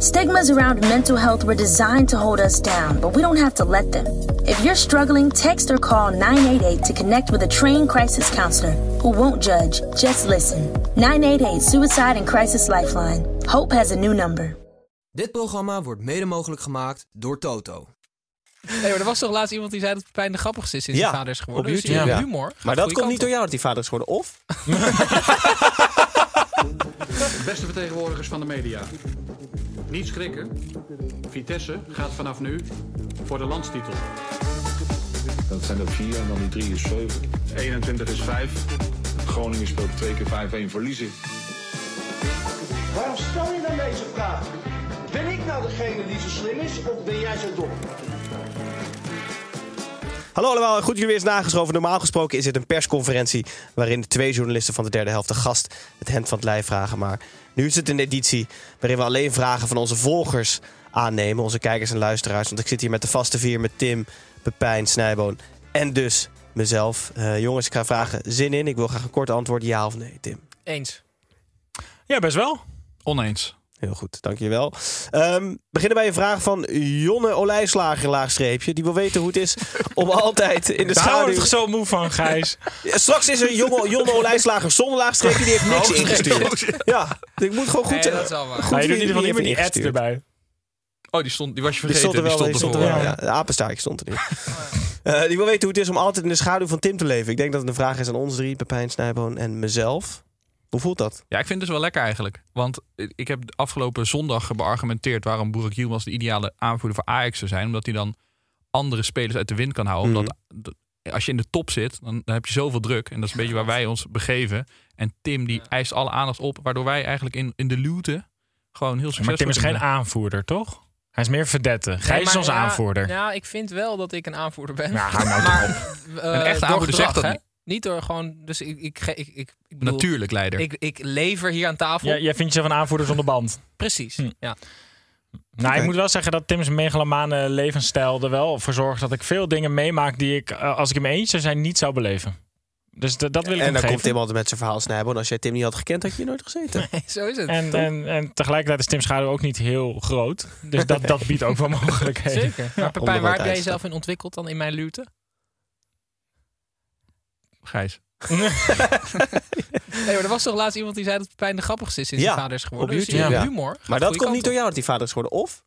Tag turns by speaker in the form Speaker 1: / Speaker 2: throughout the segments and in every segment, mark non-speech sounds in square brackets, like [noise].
Speaker 1: Stigmas around mental health were designed to hold us down, but we don't have to let them. If you're struggling, text or call 988 to connect with a trained crisis counselor who won't judge, just listen. 988 Suicide and Crisis Lifeline. Hope has a new number.
Speaker 2: Dit programma wordt mede mogelijk gemaakt door Toto.
Speaker 3: Nee, maar er was toch laatst iemand die zei dat Pepijn de grappigste is sinds
Speaker 4: Ja,
Speaker 3: zijn vader is geworden.
Speaker 4: op
Speaker 3: Dus
Speaker 4: YouTube, ja.
Speaker 3: humor. gaat
Speaker 4: Maar
Speaker 3: de goede
Speaker 4: dat komt
Speaker 3: kant
Speaker 4: niet
Speaker 3: op.
Speaker 4: door jou dat die vader is geworden. Of
Speaker 5: Beste vertegenwoordigers van de media. Niet schrikken. Vitesse gaat vanaf nu voor de landstitel.
Speaker 6: Dat zijn er vier en dan die drie is zeven. 21 is vijf. Groningen speelt twee keer 5-1 verliezen.
Speaker 7: Waarom stel je dan deze vraag? Ben ik nou degene die zo slim is of ben jij zo dom?
Speaker 4: Hallo allemaal, en goed dat jullie weer eens nageschoven. Normaal gesproken is dit een persconferentie waarin de twee journalisten van de derde helft de gast het hemd van het lijf vragen. Maar nu is het een editie waarin we alleen vragen van onze volgers aannemen, onze kijkers en luisteraars. Want ik zit hier met de vaste vier, met Tim, Pepijn, Snijboon en dus mezelf. Eh, jongens, ik ga vragen zin in. Ik wil graag een kort antwoord, ja of nee, Tim.
Speaker 3: Eens.
Speaker 8: Ja, best wel.
Speaker 4: [laughs]
Speaker 8: Oneens.
Speaker 4: Heel goed, dankjewel. Ehm beginnen bij een vraag van Jonne Olijslager, laagstreepje. Die wil weten hoe het is
Speaker 8: [laughs]
Speaker 4: om altijd in de
Speaker 8: Daar
Speaker 4: schaduw...
Speaker 8: houden we toch zo moe van, Gijs.
Speaker 4: [laughs] Ja, Straks is er jonge, jonge olijslager zonder laagstreepje. Oh, Die heeft
Speaker 8: Oh,
Speaker 4: niks ingestuurd. Ja, ik moet gewoon goed...
Speaker 3: Nee, dat is wel waar.
Speaker 4: goed
Speaker 8: Maar je
Speaker 4: wie-
Speaker 8: doet in ieder geval niet
Speaker 4: wie
Speaker 8: meer die
Speaker 4: heeft
Speaker 8: ads erbij.
Speaker 9: Oh, die, stond, die was je
Speaker 4: Die
Speaker 9: vergeten.
Speaker 4: stond er wel. Die stond er wel.
Speaker 8: ervoor.
Speaker 4: Ja, de apenstaartje stond er niet. Eh, die wil weten hoe het is om altijd in de schaduw van Tim te leven. Ik denk dat het een vraag is aan ons drie. Pepijn, Snijboon en mezelf. Hoe voelt dat?
Speaker 9: Ja, ik vind het dus wel lekker eigenlijk. Want ik heb afgelopen zondag beargumenteerd waarom Burak Yilmaz de ideale aanvoerder voor Ajax zou zijn. Omdat hij dan andere spelers uit de wind kan houden. Omdat dat- als je in de top zit, dan, dan heb je zoveel druk. En dat is een beetje waar wij ons begeven. En Tim die eist alle aandacht op. Waardoor wij eigenlijk in, in de luwte gewoon heel
Speaker 8: Maar
Speaker 9: succesvol
Speaker 8: Tim is geen
Speaker 9: kunnen
Speaker 8: aanvoerder, toch? Hij is meer verdette. Gijs
Speaker 3: Nee,
Speaker 8: is
Speaker 3: maar
Speaker 8: ons
Speaker 3: ja,
Speaker 8: aanvoerder.
Speaker 3: Ja, ik vind wel dat ik een aanvoerder ben.
Speaker 8: Nou, hou
Speaker 3: [laughs]
Speaker 8: nou
Speaker 3: maar,
Speaker 8: toch op.
Speaker 3: eh,
Speaker 9: Een echte
Speaker 3: door
Speaker 9: aanvoerder zegt
Speaker 3: gedrag,
Speaker 9: dat
Speaker 3: hè?
Speaker 9: niet.
Speaker 3: Niet door gewoon... Dus ik, ik, ge- ik, ik, ik
Speaker 9: zijn.
Speaker 3: bedoel,
Speaker 9: [laughs] Natuurlijk leider.
Speaker 3: Ik, ik lever hier aan tafel.
Speaker 8: Jij, jij vindt jezelf een aanvoerder zonder band.
Speaker 3: Precies.
Speaker 8: Hm.
Speaker 3: Ja. [laughs]
Speaker 8: Nou, ik moet wel zeggen dat Tim's megalomane levensstijl er wel voor zorgt dat ik veel dingen meemaak die ik, eh, als ik in mijn eentje zou zijn, niet zou beleven. Dus d- dat wil ik
Speaker 4: En dan
Speaker 8: hem
Speaker 4: komt
Speaker 8: geven.
Speaker 4: Tim altijd met zijn verhaal Snijboon. Als jij Tim niet had gekend, had je hier nooit gezeten.
Speaker 3: Zo is het.
Speaker 8: En, en, en tegelijkertijd is Tim's schaduw ook niet heel groot. Dus dat, dat biedt ook wel mogelijkheden.
Speaker 4: [laughs]
Speaker 3: Zeker. Maar Pepijn, waar
Speaker 4: onderhoud
Speaker 3: heb jij
Speaker 4: uitstaat.
Speaker 3: jezelf in ontwikkeld dan in mijn luwte?
Speaker 9: Gijs.
Speaker 3: [laughs] Nee, maar er was toch laatst iemand die zei dat Pepijn de grappigste is sinds
Speaker 4: Ja,
Speaker 3: zijn vader is geworden.
Speaker 4: op
Speaker 3: Dus
Speaker 4: YouTube, ja.
Speaker 3: humor. gaat
Speaker 4: Maar
Speaker 3: de
Speaker 4: dat
Speaker 3: goede
Speaker 4: komt niet
Speaker 3: kant
Speaker 4: door
Speaker 3: op.
Speaker 4: jou dat die vader is geworden. Of?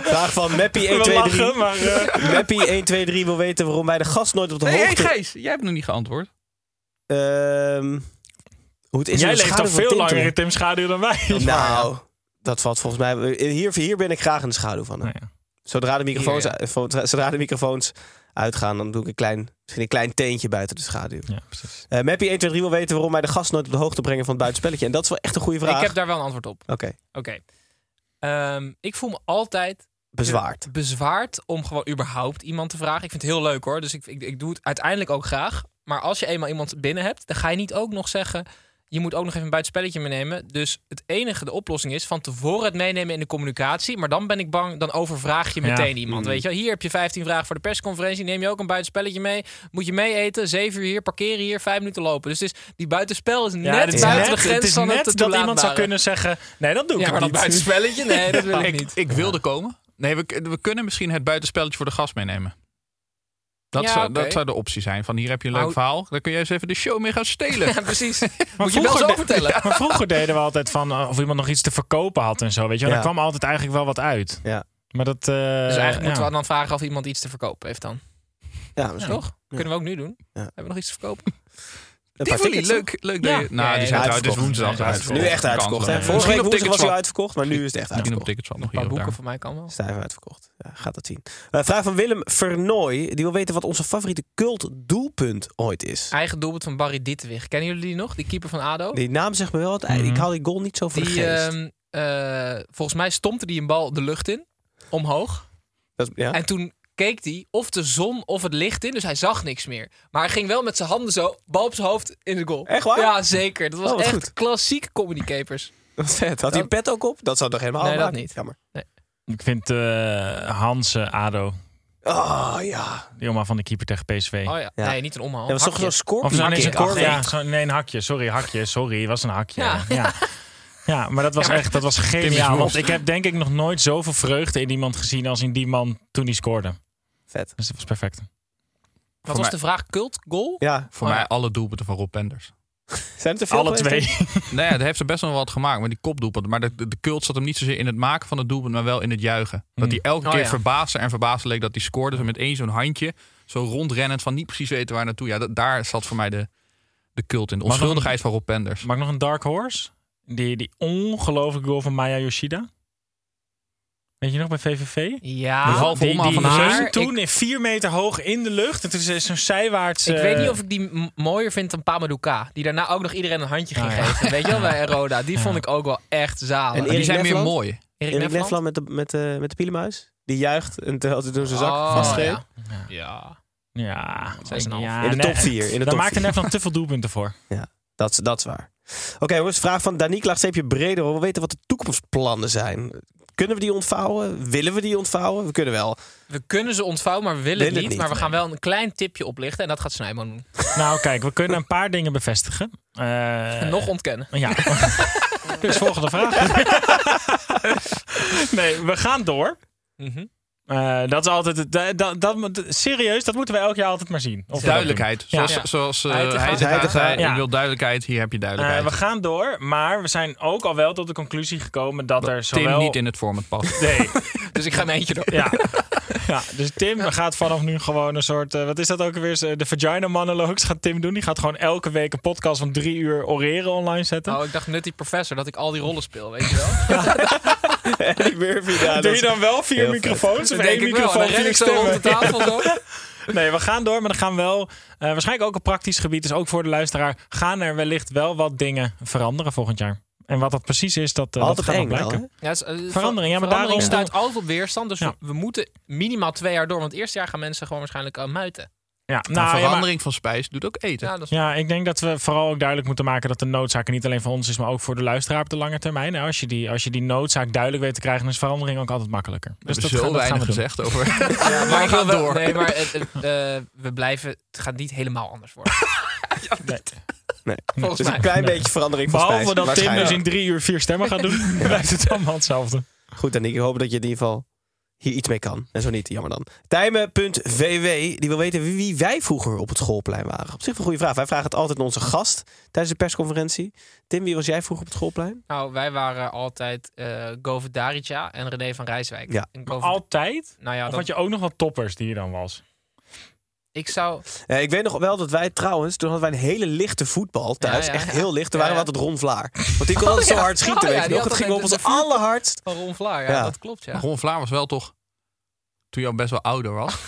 Speaker 4: Vraag van Mappy123.
Speaker 8: maar... eh,
Speaker 4: Mappy123 wil weten waarom wij de gast nooit op de
Speaker 9: Nee, hey,
Speaker 4: hoogte...
Speaker 9: Gijs, jij hebt nog niet geantwoord.
Speaker 4: Ehm, hoe het is om
Speaker 8: Jij
Speaker 4: de
Speaker 8: leeft
Speaker 4: schaduw
Speaker 8: al
Speaker 4: van
Speaker 8: veel
Speaker 4: Tim te
Speaker 8: langer
Speaker 4: leven.
Speaker 8: in Tim's schaduw dan wij.
Speaker 4: Nou, dat valt volgens mij. Hier, hier ben ik graag in de schaduw van. hè.
Speaker 8: Nou ja.
Speaker 4: Zodra, de microfoons,
Speaker 3: Hier,
Speaker 4: vo- zodra de microfoons uitgaan, dan doe ik een klein, misschien een klein teentje buiten de schaduw.
Speaker 8: Ja, precies.
Speaker 4: Eh Mappy123 wil weten waarom wij de gast nooit op de hoogte brengen van het buitenspelletje. En dat is wel echt een goede vraag.
Speaker 3: Ik heb daar wel een antwoord op.
Speaker 4: Oké,
Speaker 3: Oké. Ehm, ik voel me altijd
Speaker 4: bezwaard.
Speaker 3: bezwaard om gewoon überhaupt iemand te vragen. Ik vind het heel leuk hoor. Dus ik, ik, ik doe het uiteindelijk ook graag. Maar als je eenmaal iemand binnen hebt, dan ga je niet ook nog zeggen. Je moet ook nog even een buitenspelletje meenemen. Dus het enige, de oplossing is van tevoren het meenemen in de communicatie. Maar dan ben ik bang, dan overvraag je
Speaker 8: Ja. Mm.
Speaker 3: meteen iemand. Weet je, wel. hier heb je 15 vragen voor de persconferentie. Neem je ook een buitenspelletje mee? Moet je mee eten? Zeven uur hier, parkeren hier, vijf minuten lopen. Dus het is, die buitenspel is
Speaker 8: Ja,
Speaker 3: net
Speaker 8: dit is
Speaker 3: buiten de
Speaker 8: net-
Speaker 3: grens
Speaker 8: het is
Speaker 3: van
Speaker 8: net
Speaker 3: het
Speaker 8: dat iemand zou
Speaker 3: toelaatbare.
Speaker 8: kunnen zeggen... Nee, dat doe ik
Speaker 3: Ja, maar dat
Speaker 8: niet.
Speaker 3: buitenspelletje? Nee, dat
Speaker 9: [laughs]
Speaker 8: [laughs]
Speaker 3: wil ik
Speaker 9: ik,
Speaker 3: niet.
Speaker 9: ik wilde komen. Nee, we, we kunnen misschien het buitenspelletje voor de gast meenemen. Dat,
Speaker 3: Ja,
Speaker 9: zou,
Speaker 3: oké.
Speaker 9: dat zou de optie zijn. Van hier heb je een leuk
Speaker 3: Oh.
Speaker 9: verhaal. Daar kun jij eens even de show mee gaan stelen.
Speaker 3: [laughs] Ja,
Speaker 9: [laughs]
Speaker 3: precies.
Speaker 8: Maar
Speaker 3: Moet je wel
Speaker 8: vroeger
Speaker 3: zo
Speaker 8: de-
Speaker 3: vertellen.
Speaker 8: [laughs] Maar vroeger deden we altijd van eh, of iemand nog iets te verkopen had en zo. Weet je, wel.
Speaker 4: Ja.
Speaker 8: daar kwam altijd eigenlijk wel wat uit.
Speaker 4: Ja.
Speaker 8: Maar dat. eh,
Speaker 3: Dus
Speaker 9: Eh,
Speaker 3: eigenlijk moeten we dan vragen of iemand iets te verkopen heeft dan.
Speaker 4: Ja, misschien.
Speaker 3: Toch? Kunnen we ook nu doen.
Speaker 4: Ja.
Speaker 3: Hebben we nog iets te verkopen?
Speaker 4: Een paar
Speaker 9: Tivoli,
Speaker 4: tickets.
Speaker 9: leuk, leuk
Speaker 3: Ja.
Speaker 9: dat je... Eh, Nou,
Speaker 3: Nee,
Speaker 9: die zijn
Speaker 4: ja,
Speaker 9: trouwens
Speaker 4: uitverkocht.
Speaker 9: woensdag
Speaker 8: Nee,
Speaker 4: Nu
Speaker 9: uitverkocht.
Speaker 4: echt uitverkocht. Hè?
Speaker 9: Kans,
Speaker 4: Vorige
Speaker 9: misschien
Speaker 4: week
Speaker 9: op
Speaker 4: woensdag was hij al
Speaker 9: Ticketswap.
Speaker 4: uitverkocht, maar nu is het echt
Speaker 9: Misschien op
Speaker 4: uitverkocht.
Speaker 9: tickets nog
Speaker 3: Een paar
Speaker 9: hier of
Speaker 3: boeken
Speaker 9: daar.
Speaker 3: van mij kan wel.
Speaker 4: Stijf uitverkocht. Ja, gaat dat zien. Eh, vraag van Willem Vernooy. Die wil weten wat onze favoriete cult doelpunt ooit is.
Speaker 3: Eigen doelpunt van Barry Dittewig. Kennen jullie die nog? Die keeper van ADO?
Speaker 4: Die naam zegt me wel wat. Ik haal die goal niet zo voor de
Speaker 3: Die,
Speaker 4: geest.
Speaker 3: ehm, eh, volgens mij stompte die een bal de lucht in, omhoog.
Speaker 4: Dat is- ja.
Speaker 3: [laughs] En toen keek hij of de zon of het licht in, dus hij zag niks meer. Maar hij ging wel met zijn handen zo, bal op zijn hoofd, in de goal.
Speaker 4: Echt waar?
Speaker 3: Ja, zeker. Dat was
Speaker 4: Oh, wat
Speaker 3: echt
Speaker 4: goed.
Speaker 3: klassiek comedy capers.
Speaker 4: [laughs] Wat vet. Had hij
Speaker 3: Dat-
Speaker 4: pet ook op? Dat zou toch helemaal
Speaker 3: Nee, dat
Speaker 4: maken?
Speaker 3: niet.
Speaker 4: Jammer.
Speaker 8: Ik vind eh Hansen, Ado,
Speaker 4: Oh ja.
Speaker 8: die oma van de keeper tegen PSV.
Speaker 3: Oh ja.
Speaker 4: Ja.
Speaker 3: Nee, niet een omhaal.
Speaker 4: Dat was toch
Speaker 3: Hakje.
Speaker 4: zo'n scorpion.
Speaker 8: Of zo, nee,
Speaker 4: kick.
Speaker 8: zo'n korf,
Speaker 4: Ach,
Speaker 8: ja, zo, nee, een hakje. Sorry, hakje. Sorry, was een hakje.
Speaker 3: Ja.
Speaker 8: Ja, ja. maar dat was
Speaker 3: Ja, maar-
Speaker 8: echt dat was geniaal. Want ik heb denk ik nog nooit zoveel vreugde in iemand gezien als in die man toen hij scoorde.
Speaker 4: Vet.
Speaker 8: Dus dat was perfect.
Speaker 3: Wat was de vraag? Cult goal?
Speaker 4: Ja.
Speaker 9: Voor
Speaker 3: Oh,
Speaker 9: mij
Speaker 3: ja.
Speaker 9: alle doelpunten van Rob Penders.
Speaker 4: Zijn er te veel
Speaker 8: Alle
Speaker 4: geweest?
Speaker 8: twee.
Speaker 9: Nee, hij Nou heeft er best wel wat gemaakt. Maar die kopdoelpunt. Maar de, de, de cult zat hem niet zozeer in het maken van het doelpunt, maar wel in het juichen. Dat
Speaker 8: Hmm.
Speaker 9: hij elke
Speaker 3: Oh,
Speaker 9: keer
Speaker 3: ja.
Speaker 9: verbazen en verbazen leek dat hij scoorde. Zo met één zo'n handje. Zo rondrennend van niet precies weten waar naartoe. Ja, dat- daar zat voor mij de, de cult in. De
Speaker 8: Maar dan-
Speaker 9: onschuldigheid van Rob Penders.
Speaker 8: Mag ik nog een Dark Horse? Die, die ongelooflijke goal van Maya Yoshida. Weet je nog, bij VVV?
Speaker 3: Ja.
Speaker 9: Die halve omhaal van de
Speaker 8: maar
Speaker 9: zee?
Speaker 8: toen in vier meter hoog in de lucht. En toen is zo'n zijwaarts...
Speaker 3: Ik
Speaker 8: eh,
Speaker 3: weet niet of ik die m- mooier vind dan Pamaduka. Die daarna ook nog iedereen een handje ging
Speaker 8: Ah, ja.
Speaker 3: geven. Weet je wel,
Speaker 9: [laughs]
Speaker 3: bij Roda. Die vond ik ook wel echt zalig.
Speaker 4: En
Speaker 9: Nou Maar die
Speaker 4: Erik
Speaker 9: zijn meer
Speaker 4: Nefland?
Speaker 9: mooi.
Speaker 3: Erik
Speaker 4: Erik
Speaker 3: Nefland?
Speaker 4: Nefland met de, met, de, met de pielenmuis. Die juicht en terwijl ze toen zijn zak
Speaker 3: Oh,
Speaker 4: vastgreep.
Speaker 3: ja. ja.
Speaker 8: Ja,
Speaker 3: Zes en een half.
Speaker 8: ja,
Speaker 4: In de
Speaker 8: nee,
Speaker 4: top vier, in de
Speaker 8: Daar
Speaker 4: top
Speaker 8: maakte
Speaker 4: vier.
Speaker 8: Nederland te veel doelpunten voor.
Speaker 4: Dat, is- dat is waar. Oké, jongens, vraag van Danique Laagsteepje Breder. We weten wat de toekomstplannen zijn. Kunnen we die ontvouwen? Willen we die ontvouwen? We kunnen wel.
Speaker 3: We kunnen ze ontvouwen, maar we willen
Speaker 4: Willen
Speaker 3: het
Speaker 4: het
Speaker 3: niet.
Speaker 4: niet,
Speaker 3: maar we
Speaker 4: nee.
Speaker 3: gaan wel een klein tipje oplichten. En dat gaat Snijman doen.
Speaker 8: Nou, kijk, we kunnen een paar dingen bevestigen.
Speaker 3: [laughs]
Speaker 8: Eh,
Speaker 3: En nog ontkennen.
Speaker 8: Ja.
Speaker 3: [laughs]
Speaker 8: dus volgende vraag. [laughs] nee, we gaan door.
Speaker 3: Mhm.
Speaker 8: Eh, dat is altijd. het- da- da- dat, moet- serieus, dat moeten we elk jaar altijd maar zien. Of we dat
Speaker 9: Duidelijkheid.
Speaker 8: Ja.
Speaker 9: Zoals,
Speaker 3: Ja.
Speaker 9: zoals eh,
Speaker 3: Heitinga.
Speaker 9: hij
Speaker 4: Heitinga.
Speaker 9: zei,
Speaker 8: Ja.
Speaker 9: ik wil duidelijkheid. Hier heb je
Speaker 8: doen. Eh,
Speaker 9: duidelijkheid.
Speaker 8: we gaan door, maar we zijn ook al wel tot de conclusie gekomen dat, er
Speaker 9: Tim
Speaker 8: zowel.
Speaker 9: niet in het format past. [laughs]
Speaker 8: [laughs] Nee,
Speaker 3: Dus ik ga in mijn
Speaker 8: [laughs]
Speaker 3: eentje door.
Speaker 8: ja. ja. Dus Tim gaat vanaf nu gewoon een soort. eh, wat is dat ook weer? Eh, De vagina monologues gaat Tim doen. Die gaat gewoon elke week een podcast van drie uur oreren online zetten.
Speaker 3: Oh, ik dacht nutty professor dat ik al die rollen speel, weet je wel?
Speaker 4: [laughs] Eddie Murphy. ja, dat
Speaker 8: Doe
Speaker 4: is-
Speaker 8: je dan wel vier
Speaker 4: Heel
Speaker 8: microfoons? Of
Speaker 3: Dat denk
Speaker 8: één
Speaker 3: ik wel. En
Speaker 8: microfoon,
Speaker 3: dan ren
Speaker 8: vier
Speaker 3: ik zo
Speaker 8: stemmen?
Speaker 3: rond de
Speaker 8: [laughs]
Speaker 3: tafel zo.
Speaker 8: Nee, we gaan door, maar dan gaan we wel. eh, waarschijnlijk ook op praktisch gebied, dus ook voor de luisteraar. Gaan er wellicht wel wat dingen veranderen volgend jaar? En wat dat precies is, dat, eh, dat
Speaker 4: Altijd
Speaker 8: gaat nog
Speaker 4: eng wel,
Speaker 8: blijken.
Speaker 4: hè?
Speaker 3: Ja, het is, eh, ver-
Speaker 8: Verandering, ja, maar
Speaker 3: verandering
Speaker 8: daarom-
Speaker 3: stuit altijd op weerstand. Dus
Speaker 8: Ja.
Speaker 3: we, we moeten minimaal twee jaar door. Want het eerste jaar gaan mensen gewoon waarschijnlijk eh, muiten.
Speaker 8: ja, nou,
Speaker 9: Maar
Speaker 8: ja, maar-
Speaker 9: verandering van spijs doet ook eten.
Speaker 3: Ja, dat is...
Speaker 8: Ja, ik denk dat we vooral ook duidelijk moeten maken dat de noodzaak er niet alleen voor ons is, maar ook voor de luisteraar op de lange termijn. Nou, als, je die, als je die noodzaak duidelijk weet te krijgen, dan is verandering ook altijd makkelijker.
Speaker 9: we
Speaker 8: Dus
Speaker 9: hebben
Speaker 8: dat,
Speaker 9: zo
Speaker 8: gaan- dat gaan
Speaker 9: weinig
Speaker 8: we doen.
Speaker 9: gezegd over.
Speaker 8: [laughs]
Speaker 3: maar ik wil
Speaker 9: gaan
Speaker 3: wel-
Speaker 9: door.
Speaker 3: Nee, maar het, het, eh, we blijven... Het gaat niet helemaal anders worden.
Speaker 4: Nee.
Speaker 3: Volgens
Speaker 4: Dus een
Speaker 3: mij.
Speaker 4: klein beetje verandering van spijs.
Speaker 8: Behalve dat Tim dus in
Speaker 4: waarschijnlijk.
Speaker 8: drie uur vier stemmen
Speaker 9: [laughs]
Speaker 8: gaat doen, blijft het allemaal hetzelfde.
Speaker 4: Goed, Danique. Ik hoop dat je in ieder geval hier iets mee kan. En zo niet, jammer dan. Tijmen.vw, die wil weten wie- wie wij vroeger op het schoolplein waren. Op zich wel een goede vraag. Wij vragen het altijd aan onze gast tijdens de persconferentie. Tim, wie was jij vroeger op het schoolplein?
Speaker 3: Nou, wij waren altijd eh Govedarica en René van Rijswijk.
Speaker 4: Ja.
Speaker 3: En Goverd-
Speaker 8: Altijd?
Speaker 3: nou ja,
Speaker 8: Of
Speaker 3: dat-
Speaker 8: had je ook nog wat toppers die je dan was?
Speaker 3: ik zou...
Speaker 4: Eh, ik weet nog wel dat wij trouwens, toen hadden wij een hele lichte voetbal thuis.
Speaker 3: Ja, ja,
Speaker 4: echt
Speaker 3: ja.
Speaker 4: heel licht. Toen
Speaker 3: Ja,
Speaker 4: waren we
Speaker 3: ja.
Speaker 4: altijd Ron Vlaar. Want die kon altijd zo
Speaker 3: ja.
Speaker 4: hard schieten,
Speaker 3: Oh,
Speaker 4: weet
Speaker 3: ja,
Speaker 4: je
Speaker 3: die
Speaker 4: nog.
Speaker 3: had
Speaker 4: Het ging op
Speaker 3: altijd
Speaker 4: ons
Speaker 3: de vuur-
Speaker 4: allerhardst.
Speaker 3: Van Ron Vlaar, ja,
Speaker 4: Ja.
Speaker 3: dat klopt, ja.
Speaker 9: Ron Vlaar was wel toch. Toen je al best wel ouder was.
Speaker 4: Ja,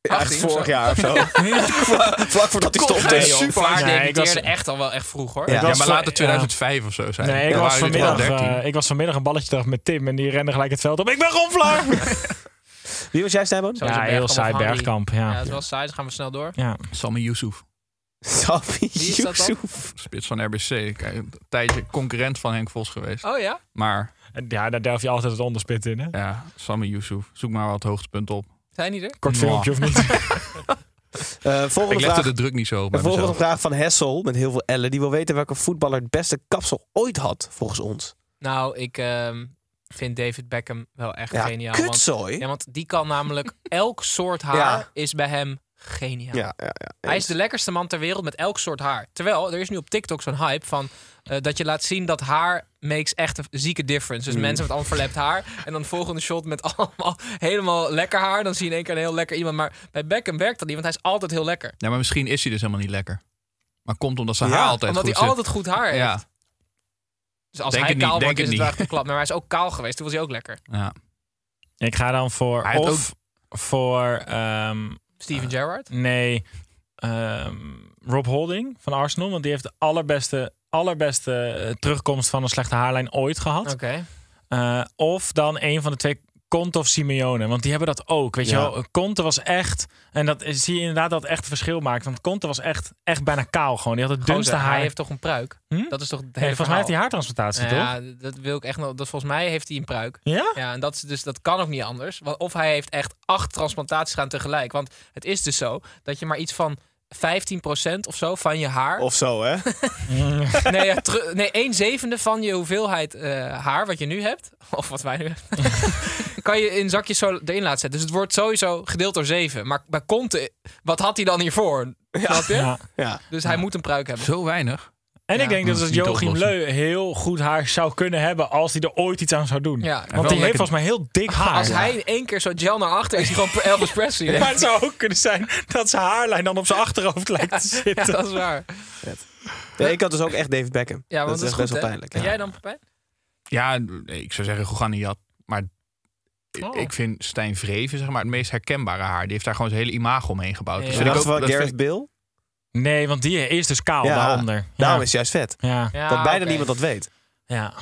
Speaker 4: echt
Speaker 3: 18 of
Speaker 4: vorig
Speaker 3: zo.
Speaker 4: jaar of
Speaker 3: [laughs]
Speaker 4: zo. Vlak voordat hij
Speaker 3: Kom,
Speaker 4: stopte.
Speaker 3: nee, joh,
Speaker 8: Super.
Speaker 3: Vlaar
Speaker 8: Nee, ik
Speaker 3: debuteerde
Speaker 8: was-
Speaker 3: echt al wel echt vroeg, hoor.
Speaker 4: Ja.
Speaker 9: Ja,
Speaker 8: was
Speaker 9: maar
Speaker 8: wel-
Speaker 9: later
Speaker 8: ja.
Speaker 9: 2005 of zo zijn.
Speaker 8: Nee, ik
Speaker 9: Dan
Speaker 8: was,
Speaker 9: waren jullie toch
Speaker 8: vanmiddag,
Speaker 9: wel 13.
Speaker 8: eh, ik was vanmiddag een balletje dag met Tim en die rende gelijk het veld op. Ik ben Ron Vlaar!
Speaker 9: [laughs]
Speaker 4: Wie was jij, Snijboon?
Speaker 3: Sowieso
Speaker 8: Ja,
Speaker 3: Bergkamp
Speaker 8: heel
Speaker 3: of
Speaker 8: saai
Speaker 3: Harry.
Speaker 8: Bergkamp. Ja.
Speaker 3: Ja,
Speaker 8: Ja,
Speaker 3: dat is wel saai, dus gaan we snel door.
Speaker 9: Sammy Yusuf,
Speaker 4: Sabi
Speaker 3: is dat dan?
Speaker 4: Yusuf.
Speaker 9: spits van RBC. Kijk, Een tijdje concurrent van Henk Vos geweest.
Speaker 3: Oh ja?
Speaker 9: Maar
Speaker 8: daar durf je altijd het onderspit in. Hè?
Speaker 9: ja, Sammy Yusuf, zoek maar wat hoogtepunt op.
Speaker 3: Zijn die er?
Speaker 8: Kort
Speaker 9: Mwah.
Speaker 8: filmpje of
Speaker 9: [laughs]
Speaker 8: niet?
Speaker 4: Eh,
Speaker 9: Ik
Speaker 4: volgende
Speaker 9: legde
Speaker 4: vraag.
Speaker 9: de druk niet zo op bij
Speaker 4: Een volgende
Speaker 9: mezelf.
Speaker 4: vraag van Hessel met heel veel ellen. Die wil weten welke voetballer het beste kapsel ooit had, volgens ons.
Speaker 3: Nou, ik ehm, vind David Beckham wel echt
Speaker 4: Ja,
Speaker 3: geniaal. Want,
Speaker 4: kutzooi.
Speaker 3: ja, want die kan
Speaker 4: [laughs]
Speaker 3: namelijk elk soort haar
Speaker 4: Ja.
Speaker 3: is bij hem geniaal.
Speaker 4: Ja, ja, ja.
Speaker 3: Hij is de lekkerste man ter wereld met elk soort haar. Terwijl er is nu op TikTok zo'n hype van eh, dat je laat zien dat haar makes echt een zieke difference.
Speaker 9: Mm.
Speaker 3: Dus mensen met allemaal verlept haar en dan de volgende shot met [laughs] allemaal helemaal lekker haar. Dan zie je in één keer een heel lekker iemand. Maar bij Beckham werkt dat niet, want hij is altijd heel lekker.
Speaker 9: Ja, maar misschien is hij dus helemaal niet lekker. Maar komt omdat zijn
Speaker 4: Ja,
Speaker 9: haar altijd
Speaker 3: Omdat hij
Speaker 9: goed zit.
Speaker 3: altijd goed haar heeft.
Speaker 9: ja,
Speaker 3: Dus als
Speaker 9: Denk
Speaker 3: hij
Speaker 9: het niet,
Speaker 3: kaal
Speaker 9: denk
Speaker 3: wordt, is het
Speaker 9: het
Speaker 3: wel
Speaker 9: niet.
Speaker 3: echt een klap. Maar hij is ook kaal geweest, toen was hij ook lekker.
Speaker 9: ja.
Speaker 8: ik ga dan voor.
Speaker 9: Hij had
Speaker 8: Of voor. ehm,
Speaker 3: Steven Gerrard.
Speaker 8: nee. ehm, Rob Holding van Arsenal. Want die heeft de allerbeste, allerbeste eh, terugkomst van een slechte haarlijn ooit gehad.
Speaker 3: Oké.
Speaker 8: Eh, of dan een van de twee, Kont of Simeone. Want die hebben dat ook. Weet
Speaker 4: Ja.
Speaker 8: je wel, Eh, Conte was echt. En dat is- zie je inderdaad dat het echt verschil maakt. Want Conte was echt, echt bijna kaal gewoon. Die had het dunste
Speaker 3: Gozer,
Speaker 8: haar.
Speaker 3: Hij heeft toch een pruik?
Speaker 8: Hm?
Speaker 3: Dat is toch het
Speaker 8: Nee,
Speaker 3: hele
Speaker 8: volgens mij heeft hij haartransplantatie, toch?
Speaker 3: Nou Ja, dat wil ik echt nog. Dat volgens mij heeft hij een pruik.
Speaker 8: Ja?
Speaker 3: Ja, en dat, is dus, dat kan ook niet anders. Want of hij heeft echt acht transplantaties gaan tegelijk. Want het is dus zo dat je maar iets van 15% of zo van je haar.
Speaker 8: Oh.
Speaker 4: Of zo, hè?
Speaker 3: [laughs] Nee, ja, teru- nee, 1 zevende van je hoeveelheid eh, haar wat je nu hebt. [laughs] Of wat wij nu hebben. [laughs] kan je in zakjes zo erin laten zetten. Dus het wordt sowieso gedeeld door 7. Maar bij Conte, wat had hij dan hiervoor? Snap je?
Speaker 8: Ja.
Speaker 3: [laughs]
Speaker 4: Ja.
Speaker 3: Dus hij moet een pruik hebben.
Speaker 9: Zo weinig.
Speaker 8: En
Speaker 3: Ja.
Speaker 8: ik denk dus
Speaker 9: Dat
Speaker 8: dat
Speaker 9: is
Speaker 8: het
Speaker 9: niet
Speaker 8: Joachim
Speaker 9: oplossen.
Speaker 8: Leu heel goed haar zou kunnen hebben als hij er ooit iets aan zou doen.
Speaker 3: Ja.
Speaker 8: Want
Speaker 3: Wel
Speaker 8: die heeft
Speaker 9: lekker-
Speaker 8: volgens mij heel dik haar.
Speaker 3: Als
Speaker 8: Ah, Ja.
Speaker 3: hij één keer zo gel naar achter is, hij gewoon [laughs] Elvis Presley.
Speaker 8: Maar het zou ook kunnen zijn dat zijn haarlijn dan op zijn achterhoofd lijkt
Speaker 3: [laughs]
Speaker 8: te
Speaker 3: Ja,
Speaker 8: zitten.
Speaker 3: dat is waar.
Speaker 4: Nee, ik had dus ook echt David Beckham.
Speaker 3: Ja, want
Speaker 4: dat is echt best
Speaker 3: goed,
Speaker 4: wel
Speaker 3: hè?
Speaker 4: pijnlijk.
Speaker 3: En
Speaker 4: ja.
Speaker 3: jij dan, Pepijn?
Speaker 9: Ja, ik zou zeggen Goganiat. Maar ik-
Speaker 3: Oh.
Speaker 9: ik vind Stijn Vreven zeg maar, het meest herkenbare haar. Die heeft daar gewoon zijn hele imago omheen gebouwd.
Speaker 3: Ja.
Speaker 9: Dat
Speaker 4: We
Speaker 9: vind ik
Speaker 4: dachten wel
Speaker 9: ook- dat vind
Speaker 4: Gareth Bill.
Speaker 8: Nee, want die is dus kaal
Speaker 4: Ja.
Speaker 8: daaronder. Ja.
Speaker 4: Daarom is het juist vet.
Speaker 8: ja.
Speaker 3: Ja,
Speaker 4: dat bijna
Speaker 3: oké.
Speaker 4: niemand dat weet.
Speaker 8: ja.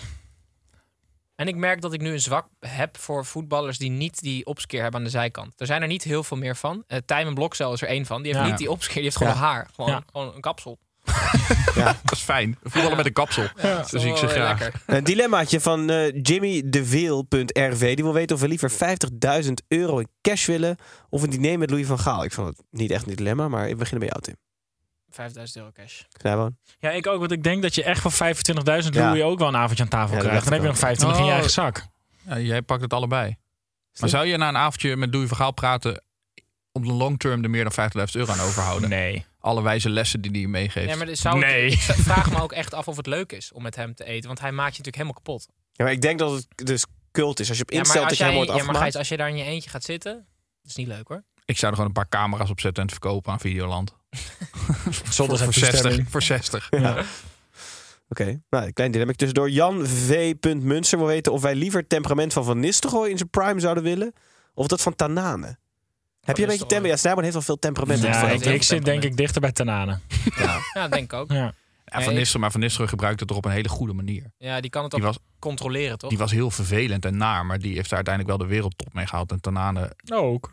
Speaker 3: En ik merk dat ik nu een zwak heb voor voetballers die niet die opskeer hebben aan de zijkant. Er zijn er niet heel veel meer van. Eh Tijmen Blokcel is er één van. Die heeft
Speaker 8: Ja.
Speaker 3: niet die opskeer, die heeft gewoon
Speaker 4: Ja.
Speaker 3: een haar. Gewoon,
Speaker 8: Ja.
Speaker 3: gewoon een kapsel.
Speaker 9: Dat is fijn. Voetballen met een kapsel.
Speaker 3: Dat is
Speaker 9: Dus ik
Speaker 3: wel
Speaker 9: ze
Speaker 3: weer
Speaker 9: graag.
Speaker 3: lekker.
Speaker 4: Een [laughs] dilemmaatje van eh jimmydeveel.rv. Die wil weten of we liever 50.000 euro in cash willen... of een diner met Louis van Gaal. Ik vond het niet echt een dilemma, maar we beginnen bij jou, Tim.
Speaker 3: 5000 euro cash.
Speaker 4: Knijboon.
Speaker 8: Ja, ik ook. Want ik denk dat je echt voor 25.000
Speaker 4: Ja.
Speaker 8: Louis ook wel een avondje aan tafel
Speaker 4: Ja, dat
Speaker 8: krijgt. Dan
Speaker 4: dacht
Speaker 8: heb je
Speaker 4: ik
Speaker 8: nog 25 in je
Speaker 9: Oh.
Speaker 8: eigen zak.
Speaker 9: Ja, jij pakt het allebei. Maar zou je na een avondje met Louis van Gaal praten... op de long term er meer dan 50.000 euro aan overhouden?
Speaker 8: Nee.
Speaker 9: Alle wijze lessen die hij je meegeeft.
Speaker 3: Nee, maar dit zou
Speaker 8: Nee.
Speaker 3: ik vraag me ook echt af of het leuk is om met hem te eten. Want hij maakt je natuurlijk helemaal kapot.
Speaker 4: Ja, maar ik denk dat het dus cult is. Als je op
Speaker 3: Ja,
Speaker 4: instelt
Speaker 3: maar als
Speaker 4: dat je
Speaker 3: jij,
Speaker 4: helemaal wordt
Speaker 3: ja, maar Gijs,
Speaker 4: afgemaakt...
Speaker 3: als je daar in je eentje gaat zitten, dat is niet leuk hoor.
Speaker 9: Ik zou er gewoon een paar camera's op zetten en het verkopen aan
Speaker 3: [laughs]
Speaker 9: Videoland.
Speaker 8: Zonder
Speaker 9: voor,
Speaker 8: zijn
Speaker 9: 60,
Speaker 8: toestemming.
Speaker 9: voor 60.
Speaker 4: Oké, nou, een klein dilemma tussendoor. Jan V. Munster wil weten of wij liever het temperament van Van Nistelrooy in zijn prime zouden willen... of dat van Tanane. Heb je een beetje
Speaker 3: Nistelrooy.
Speaker 4: temperament? Ja, Snijboon heeft wel veel temperament.
Speaker 8: Ja,
Speaker 4: opgevat.
Speaker 8: ik, ik zit denk ik dichter bij Tanane.
Speaker 3: Ja, dat denk ik ook.
Speaker 8: Ja.
Speaker 9: Ja, van
Speaker 3: ik-
Speaker 9: Nistelrooy, maar Van Nistelrooy gebruikte het er op een hele goede manier.
Speaker 3: Ja, die kan het ook
Speaker 9: Die was,
Speaker 3: controleren toch?
Speaker 9: die was heel vervelend en naar, maar die heeft daar uiteindelijk wel de wereldtop mee gehaald. En Tanane,
Speaker 8: Ook.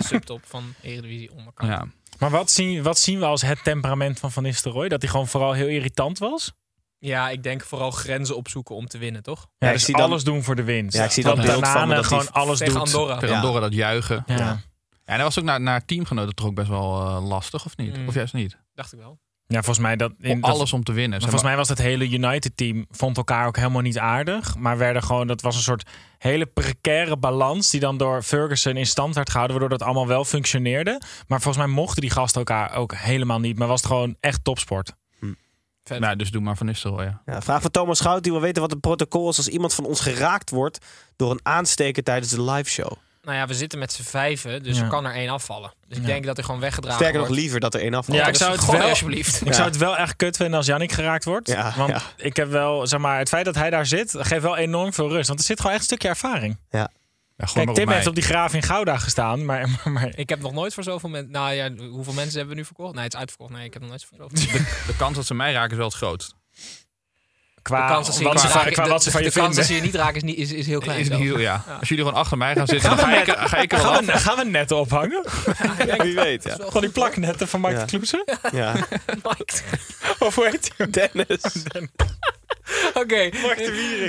Speaker 3: Subtop van Eredivisie onderkant.
Speaker 9: ja.
Speaker 8: Maar wat zien, wat zien we als het temperament van Van Nistelrooy? Dat hij gewoon vooral heel irritant was?
Speaker 3: Ja, ik denk vooral grenzen opzoeken om te winnen, toch?
Speaker 8: Ja,
Speaker 4: ik
Speaker 8: dus
Speaker 4: zie dan-
Speaker 8: alles doen voor de winst.
Speaker 4: Ja, ik zie dat beeld van me
Speaker 8: Tanane
Speaker 4: dat hij
Speaker 8: gewoon alles
Speaker 3: Tegen
Speaker 8: doet.
Speaker 3: Andorra.
Speaker 9: Per
Speaker 4: Ja.
Speaker 9: Andorra dat juichen.
Speaker 8: Ja.
Speaker 4: Ja.
Speaker 8: Ja.
Speaker 9: Ja, en dat was ook naar, naar teamgenoten toch ook best wel eh, lastig, of niet?
Speaker 3: Mm.
Speaker 9: Of juist niet?
Speaker 3: Dacht ik wel.
Speaker 8: volgens mij dat... In,
Speaker 9: Om
Speaker 8: dat-
Speaker 9: alles om te winnen.
Speaker 8: Maar
Speaker 9: Zeg
Speaker 8: volgens
Speaker 9: maar,
Speaker 8: mij was het hele United-team vond elkaar ook helemaal niet aardig. Maar werden gewoon, dat was een soort hele precaire balans die dan door Ferguson in stand werd gehouden, waardoor dat allemaal wel functioneerde. Maar volgens mij mochten die gasten elkaar ook helemaal niet. Maar was het gewoon echt topsport.
Speaker 3: mij-
Speaker 9: Nou, dus doe maar Van Nistelrooy. Ja.
Speaker 4: Ja, vraag van Thomas Schout, die wil weten wat het protocol is als iemand van ons geraakt wordt door een aansteker tijdens de liveshow.
Speaker 3: Nou ja, we zitten met z'n vijven, dus
Speaker 8: Ja.
Speaker 3: er kan er één afvallen. Dus ik
Speaker 8: Ja.
Speaker 3: denk dat er gewoon weggedragen
Speaker 4: Sterker nog,
Speaker 3: wordt.
Speaker 4: liever dat er één afvalt.
Speaker 8: Ja,
Speaker 3: Ja,
Speaker 8: ik
Speaker 3: dus
Speaker 8: zou het
Speaker 3: gooi
Speaker 8: wel-
Speaker 3: alsjeblieft.
Speaker 8: Ik zou het wel echt kut vinden als Jannik geraakt wordt.
Speaker 4: Ja,
Speaker 8: want
Speaker 4: ja.
Speaker 8: ik heb wel, zeg maar, het feit dat hij daar zit, geeft wel enorm veel rust. Want er zit gewoon echt een stukje ervaring.
Speaker 9: Ja, gooi maar
Speaker 8: Kijk,
Speaker 9: op
Speaker 8: Tim
Speaker 9: mij.
Speaker 8: heeft op die graaf in Gouda gestaan, maar, [laughs] maar, maar
Speaker 3: Ik heb nog nooit voor zoveel mensen... Nou ja, hoeveel mensen hebben we nu verkocht? Nee, het is uitverkocht. Nee, ik heb nog nooit voor
Speaker 8: [laughs]
Speaker 3: zoveel.
Speaker 9: De kans dat ze mij raken is wel het grootst.
Speaker 8: qua,
Speaker 3: de kans dat ze je
Speaker 8: wat,
Speaker 3: niet
Speaker 8: ze van,
Speaker 3: raken,
Speaker 8: qua
Speaker 3: de-
Speaker 8: wat ze van
Speaker 3: de
Speaker 8: je
Speaker 3: kans dat
Speaker 8: vinden.
Speaker 3: ze je niet raken is, niet, is, is heel klein.
Speaker 9: Is niet
Speaker 3: zelfs.
Speaker 9: heel, ja. Als jullie gewoon achter mij gaan zitten, dan ga ik, ga ik er wel
Speaker 8: Gaan
Speaker 9: af.
Speaker 8: we, gaan we netten ophangen?
Speaker 4: Ja, wie weet. Ja.
Speaker 8: Van die plaknetten van Mike
Speaker 4: Ja.
Speaker 8: de Kloeze?
Speaker 4: [laughs] Ja.
Speaker 3: Mike-
Speaker 8: Of hoe heet hij?
Speaker 4: Dennis.
Speaker 3: [laughs] Oké.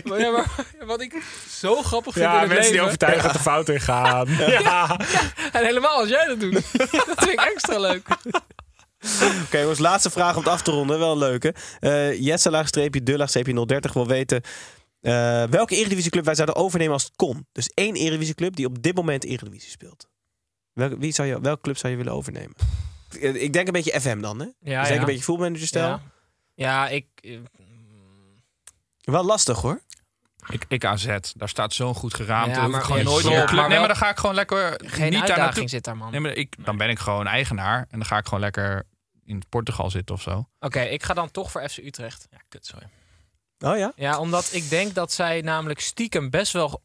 Speaker 3: Maar ja, maar wat ik zo grappig vind
Speaker 8: Ja,
Speaker 3: in
Speaker 8: mensen
Speaker 3: het
Speaker 8: die
Speaker 3: leven...
Speaker 8: overtuigen dat de fout in gaan. Ja.
Speaker 3: [laughs] En helemaal als jij dat doet.
Speaker 8: [laughs]
Speaker 3: dat vind ik extra leuk.
Speaker 4: [laughs] Oké, jongens, laatste vraag om het af te ronden. Wel een leuke. Eh Jesse laagstreepje, de laagstreepje 030 wil weten eh, welke Eredivisieclub wij zouden overnemen als het kon. Dus één Eredivisieclub die op dit moment Eredivisie speelt. Welke, wie zou je, welke club zou je willen overnemen? Eh, Ik denk een beetje FM dan, hè?
Speaker 3: Ja,
Speaker 4: dus denk een beetje voetbalmanager stijl.
Speaker 3: Ja, ja ik... eh,
Speaker 4: Wel lastig, hoor.
Speaker 9: Ik, ik AZ, daar staat zo'n goed geraamte.
Speaker 3: Ja,
Speaker 9: dat
Speaker 3: maar
Speaker 9: ik gewoon
Speaker 3: geen
Speaker 9: nooit
Speaker 3: slot,
Speaker 9: meer
Speaker 3: maar
Speaker 9: club. Nee,
Speaker 3: wel-
Speaker 9: maar dan ga ik gewoon lekker
Speaker 3: Geen
Speaker 9: niet daar
Speaker 3: uitdaging
Speaker 9: naartoe.
Speaker 3: zit daar, man.
Speaker 9: Nee, maar ik, dan ben ik gewoon eigenaar en dan ga ik gewoon lekker in Portugal zitten of zo.
Speaker 3: Oké, ik ga dan toch voor FC Utrecht.
Speaker 8: kut, sorry.
Speaker 4: Oh ja?
Speaker 3: Ja, omdat ik denk dat zij namelijk stiekem best wel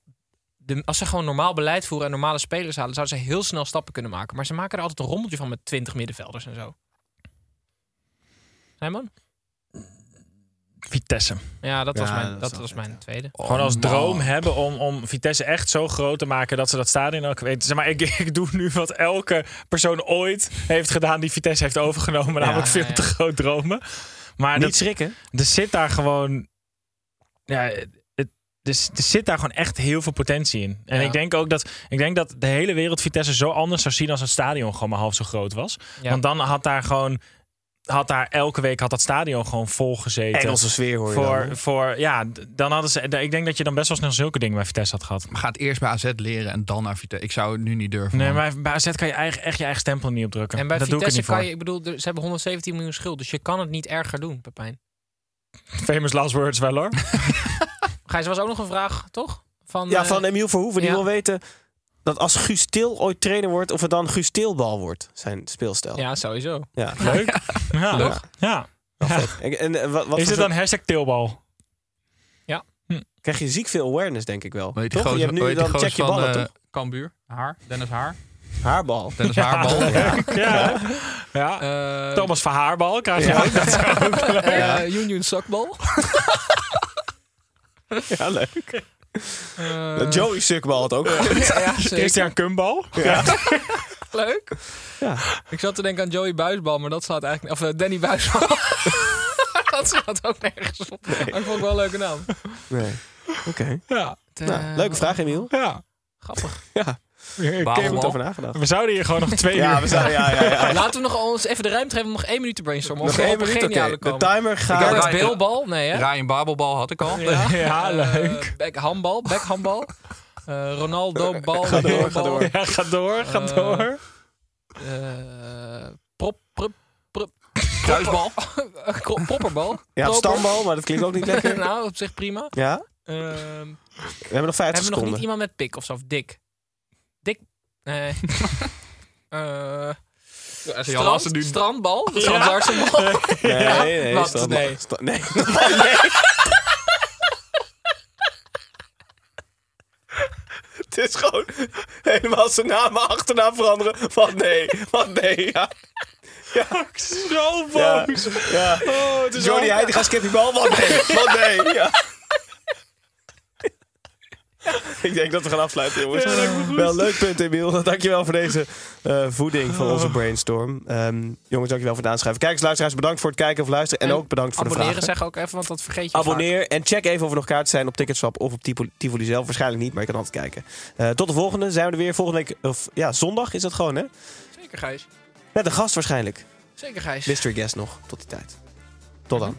Speaker 3: de, als ze gewoon normaal beleid voeren en normale spelers halen, zouden ze heel snel stappen kunnen maken. Maar ze maken er altijd een rommeltje van met 20 middenvelders en zo. Simon?
Speaker 8: Vitesse.
Speaker 3: Ja, dat
Speaker 4: Ja,
Speaker 3: was mijn,
Speaker 4: dat
Speaker 3: dat
Speaker 4: is
Speaker 3: was mijn tweede.
Speaker 9: Oh,
Speaker 8: Gewoon als droom hebben om, om Vitesse echt zo groot te maken dat ze dat stadion ook weten. Zeg maar, ik, [laughs] ik doe nu wat elke persoon ooit heeft gedaan die Vitesse heeft overgenomen. namelijk veel
Speaker 3: ja.
Speaker 8: te groot dromen. Maar
Speaker 4: Niet
Speaker 8: dat,
Speaker 4: schrikken.
Speaker 8: er zit daar gewoon. Ja, het, dus er zit daar gewoon echt heel veel potentie in. En
Speaker 3: Ja.
Speaker 8: ik denk ook dat, ik denk dat de hele wereld Vitesse zo anders zou zien als het stadion gewoon maar half zo groot was.
Speaker 3: Ja.
Speaker 8: Want dan had daar gewoon. Had daar elke week had dat stadion gewoon vol gezeten.
Speaker 4: Engelse sfeer hoor je
Speaker 8: voor,
Speaker 4: dan.
Speaker 8: voor, ja, d- dan hadden ze. d- Ik denk dat je dan best wel snel zulke dingen bij Vitesse had gehad.
Speaker 9: Gaat eerst bij AZ leren en dan naar Vitesse. Ik zou het nu niet durven.
Speaker 8: Nee,
Speaker 9: man.
Speaker 8: maar bij AZ kan je eigen, echt je eigen stempel niet opdrukken.
Speaker 3: En bij
Speaker 8: dat doe ik er
Speaker 3: Vitesse kan
Speaker 8: niet voor.
Speaker 3: je, ik bedoel, er- ze hebben 117 miljoen schuld, dus je kan het niet erger doen, Pepijn.
Speaker 8: Famous last words wel hoor.
Speaker 3: Gijs, er was ook nog een vraag, toch? Van,
Speaker 4: Ja,
Speaker 3: eh,
Speaker 4: van Emiel Verhoeven. Die
Speaker 3: ja.
Speaker 4: wil weten dat als Guus Til ooit trainer wordt, of het dan Guus Tilbal wordt, zijn speelstijl.
Speaker 3: Ja, sowieso.
Speaker 4: Ja.
Speaker 8: [laughs] Leuk. Ja.
Speaker 4: Toch?
Speaker 8: Ja.
Speaker 4: En, en, eh, wat, wat
Speaker 8: Is
Speaker 4: voor
Speaker 8: het dan hashtag Tilbal?
Speaker 4: krijg je ziek veel awareness, denk ik wel.
Speaker 9: Hoe heet die
Speaker 4: Toch?
Speaker 9: gozer-
Speaker 4: je hebt
Speaker 9: hoe
Speaker 4: nu
Speaker 9: heet die
Speaker 4: dan check
Speaker 9: gozer
Speaker 4: je ballen,
Speaker 9: van, eh,
Speaker 4: toch?
Speaker 9: Cambuur. Haar. Dennis Haar.
Speaker 4: Haarbal.
Speaker 9: Dennis Haarbal.
Speaker 8: [laughs] Ja. ja.
Speaker 9: Eh,
Speaker 8: Thomas van Haarbal krijg je ook. Dat zou ook leuk.
Speaker 3: Eh, Union
Speaker 4: [laughs]
Speaker 3: Sokbal.
Speaker 4: Ja, leuk.
Speaker 3: Eh,
Speaker 4: Joey Sukbal had ook.
Speaker 3: ja, ja, zeker.
Speaker 8: Christian Kumbal.
Speaker 3: Leuk.
Speaker 4: Ja.
Speaker 3: Ik zat te denken aan Joey Buisbal, maar dat slaat eigenlijk... Of eh, Danny Buisbal. [laughs] dat slaat ook nergens op. Maar ik vond het wel een leuke naam. Eh,
Speaker 4: Nee. Oké.
Speaker 8: Ja.
Speaker 4: Nou, leuke vraag, Emiel.
Speaker 8: ja.
Speaker 3: Grappig.
Speaker 4: Ja.
Speaker 8: Ik
Speaker 4: Ik heb
Speaker 8: ken-
Speaker 4: er over nagedacht.
Speaker 8: We zouden hier gewoon
Speaker 9: [laughs]
Speaker 8: nog twee uur...
Speaker 4: zijn. Ja, ja, ja.
Speaker 3: Laten we nog ons even de ruimte geven om nog één minuut te brainstormen.
Speaker 4: Nog
Speaker 3: of we
Speaker 4: één
Speaker 3: op een
Speaker 4: minuut. Oké.
Speaker 3: geniale
Speaker 4: De
Speaker 3: komen.
Speaker 4: timer
Speaker 9: Ik heb
Speaker 4: gaat.
Speaker 9: het-
Speaker 3: Lawrence Beelbal? Nee, hè?
Speaker 9: Ryan Babelbal had ik al. [laughs]
Speaker 8: Ja, leuk.
Speaker 3: Eh, back handbal, back handbal. Eh, Ronaldo bal,
Speaker 4: Ga door, ga
Speaker 3: bal.
Speaker 4: door.
Speaker 8: Ja, ga door, ga
Speaker 3: Eh,
Speaker 8: door.
Speaker 3: Eh, prop, prop,
Speaker 9: Kruisbal.
Speaker 3: eh, [laughs] kro- propperbal.
Speaker 4: Je had
Speaker 3: Proper.
Speaker 4: stambal, maar dat klinkt ook niet [laughs] lekker.
Speaker 3: [laughs] nou, op zich prima.
Speaker 4: Ja?
Speaker 3: Ehm,
Speaker 4: We hebben nog 50
Speaker 3: hebben we nog niet
Speaker 4: seconden.
Speaker 3: iemand met pik of zo? Of dik? Dik?
Speaker 4: [laughs]
Speaker 3: Nee. Eh
Speaker 9: Jan Lassen
Speaker 3: strand,
Speaker 9: nu-
Speaker 3: strandbal? [laughs] Strandlarsenbal?
Speaker 4: Nee, nee,
Speaker 3: Wat?
Speaker 4: stambal.
Speaker 3: Nee.
Speaker 4: Sta-
Speaker 3: [laughs]
Speaker 4: nee. Het is gewoon helemaal zijn naam en achternaam veranderen. Wat nee, wat nee, ja.
Speaker 8: Zo
Speaker 4: Ja.
Speaker 8: boos.
Speaker 4: ja.
Speaker 8: Oh, het is
Speaker 4: Jordi
Speaker 8: al-
Speaker 4: Heitinga, Skippy Bal, wat nee, wat nee, ja. Ik denk dat we gaan afsluiten, jongens. wel leuk punt, Emiel. Dankjewel voor deze eh, voeding van onze brainstorm. Ehm, jongens, dankjewel voor het aanschrijven. Kijkers, luisteraars, bedankt voor het kijken of luisteren. En, ook bedankt voor de
Speaker 3: Abonneren
Speaker 4: vragen.
Speaker 3: zeg ook even, want dat vergeet je vaak.
Speaker 4: Abonneer en check even of er nog kaarten zijn op Ticketswap of op Tipo- Tivoli zelf. Waarschijnlijk niet, maar je kan altijd kijken. Eh, tot de volgende. Zijn we er weer volgende week. Of, ja, zondag is dat gewoon, hè?
Speaker 3: Zeker Gijs.
Speaker 4: Met een gast waarschijnlijk.
Speaker 3: Zeker Gijs.
Speaker 4: Mystery guest nog. Tot die tijd. Tot dan.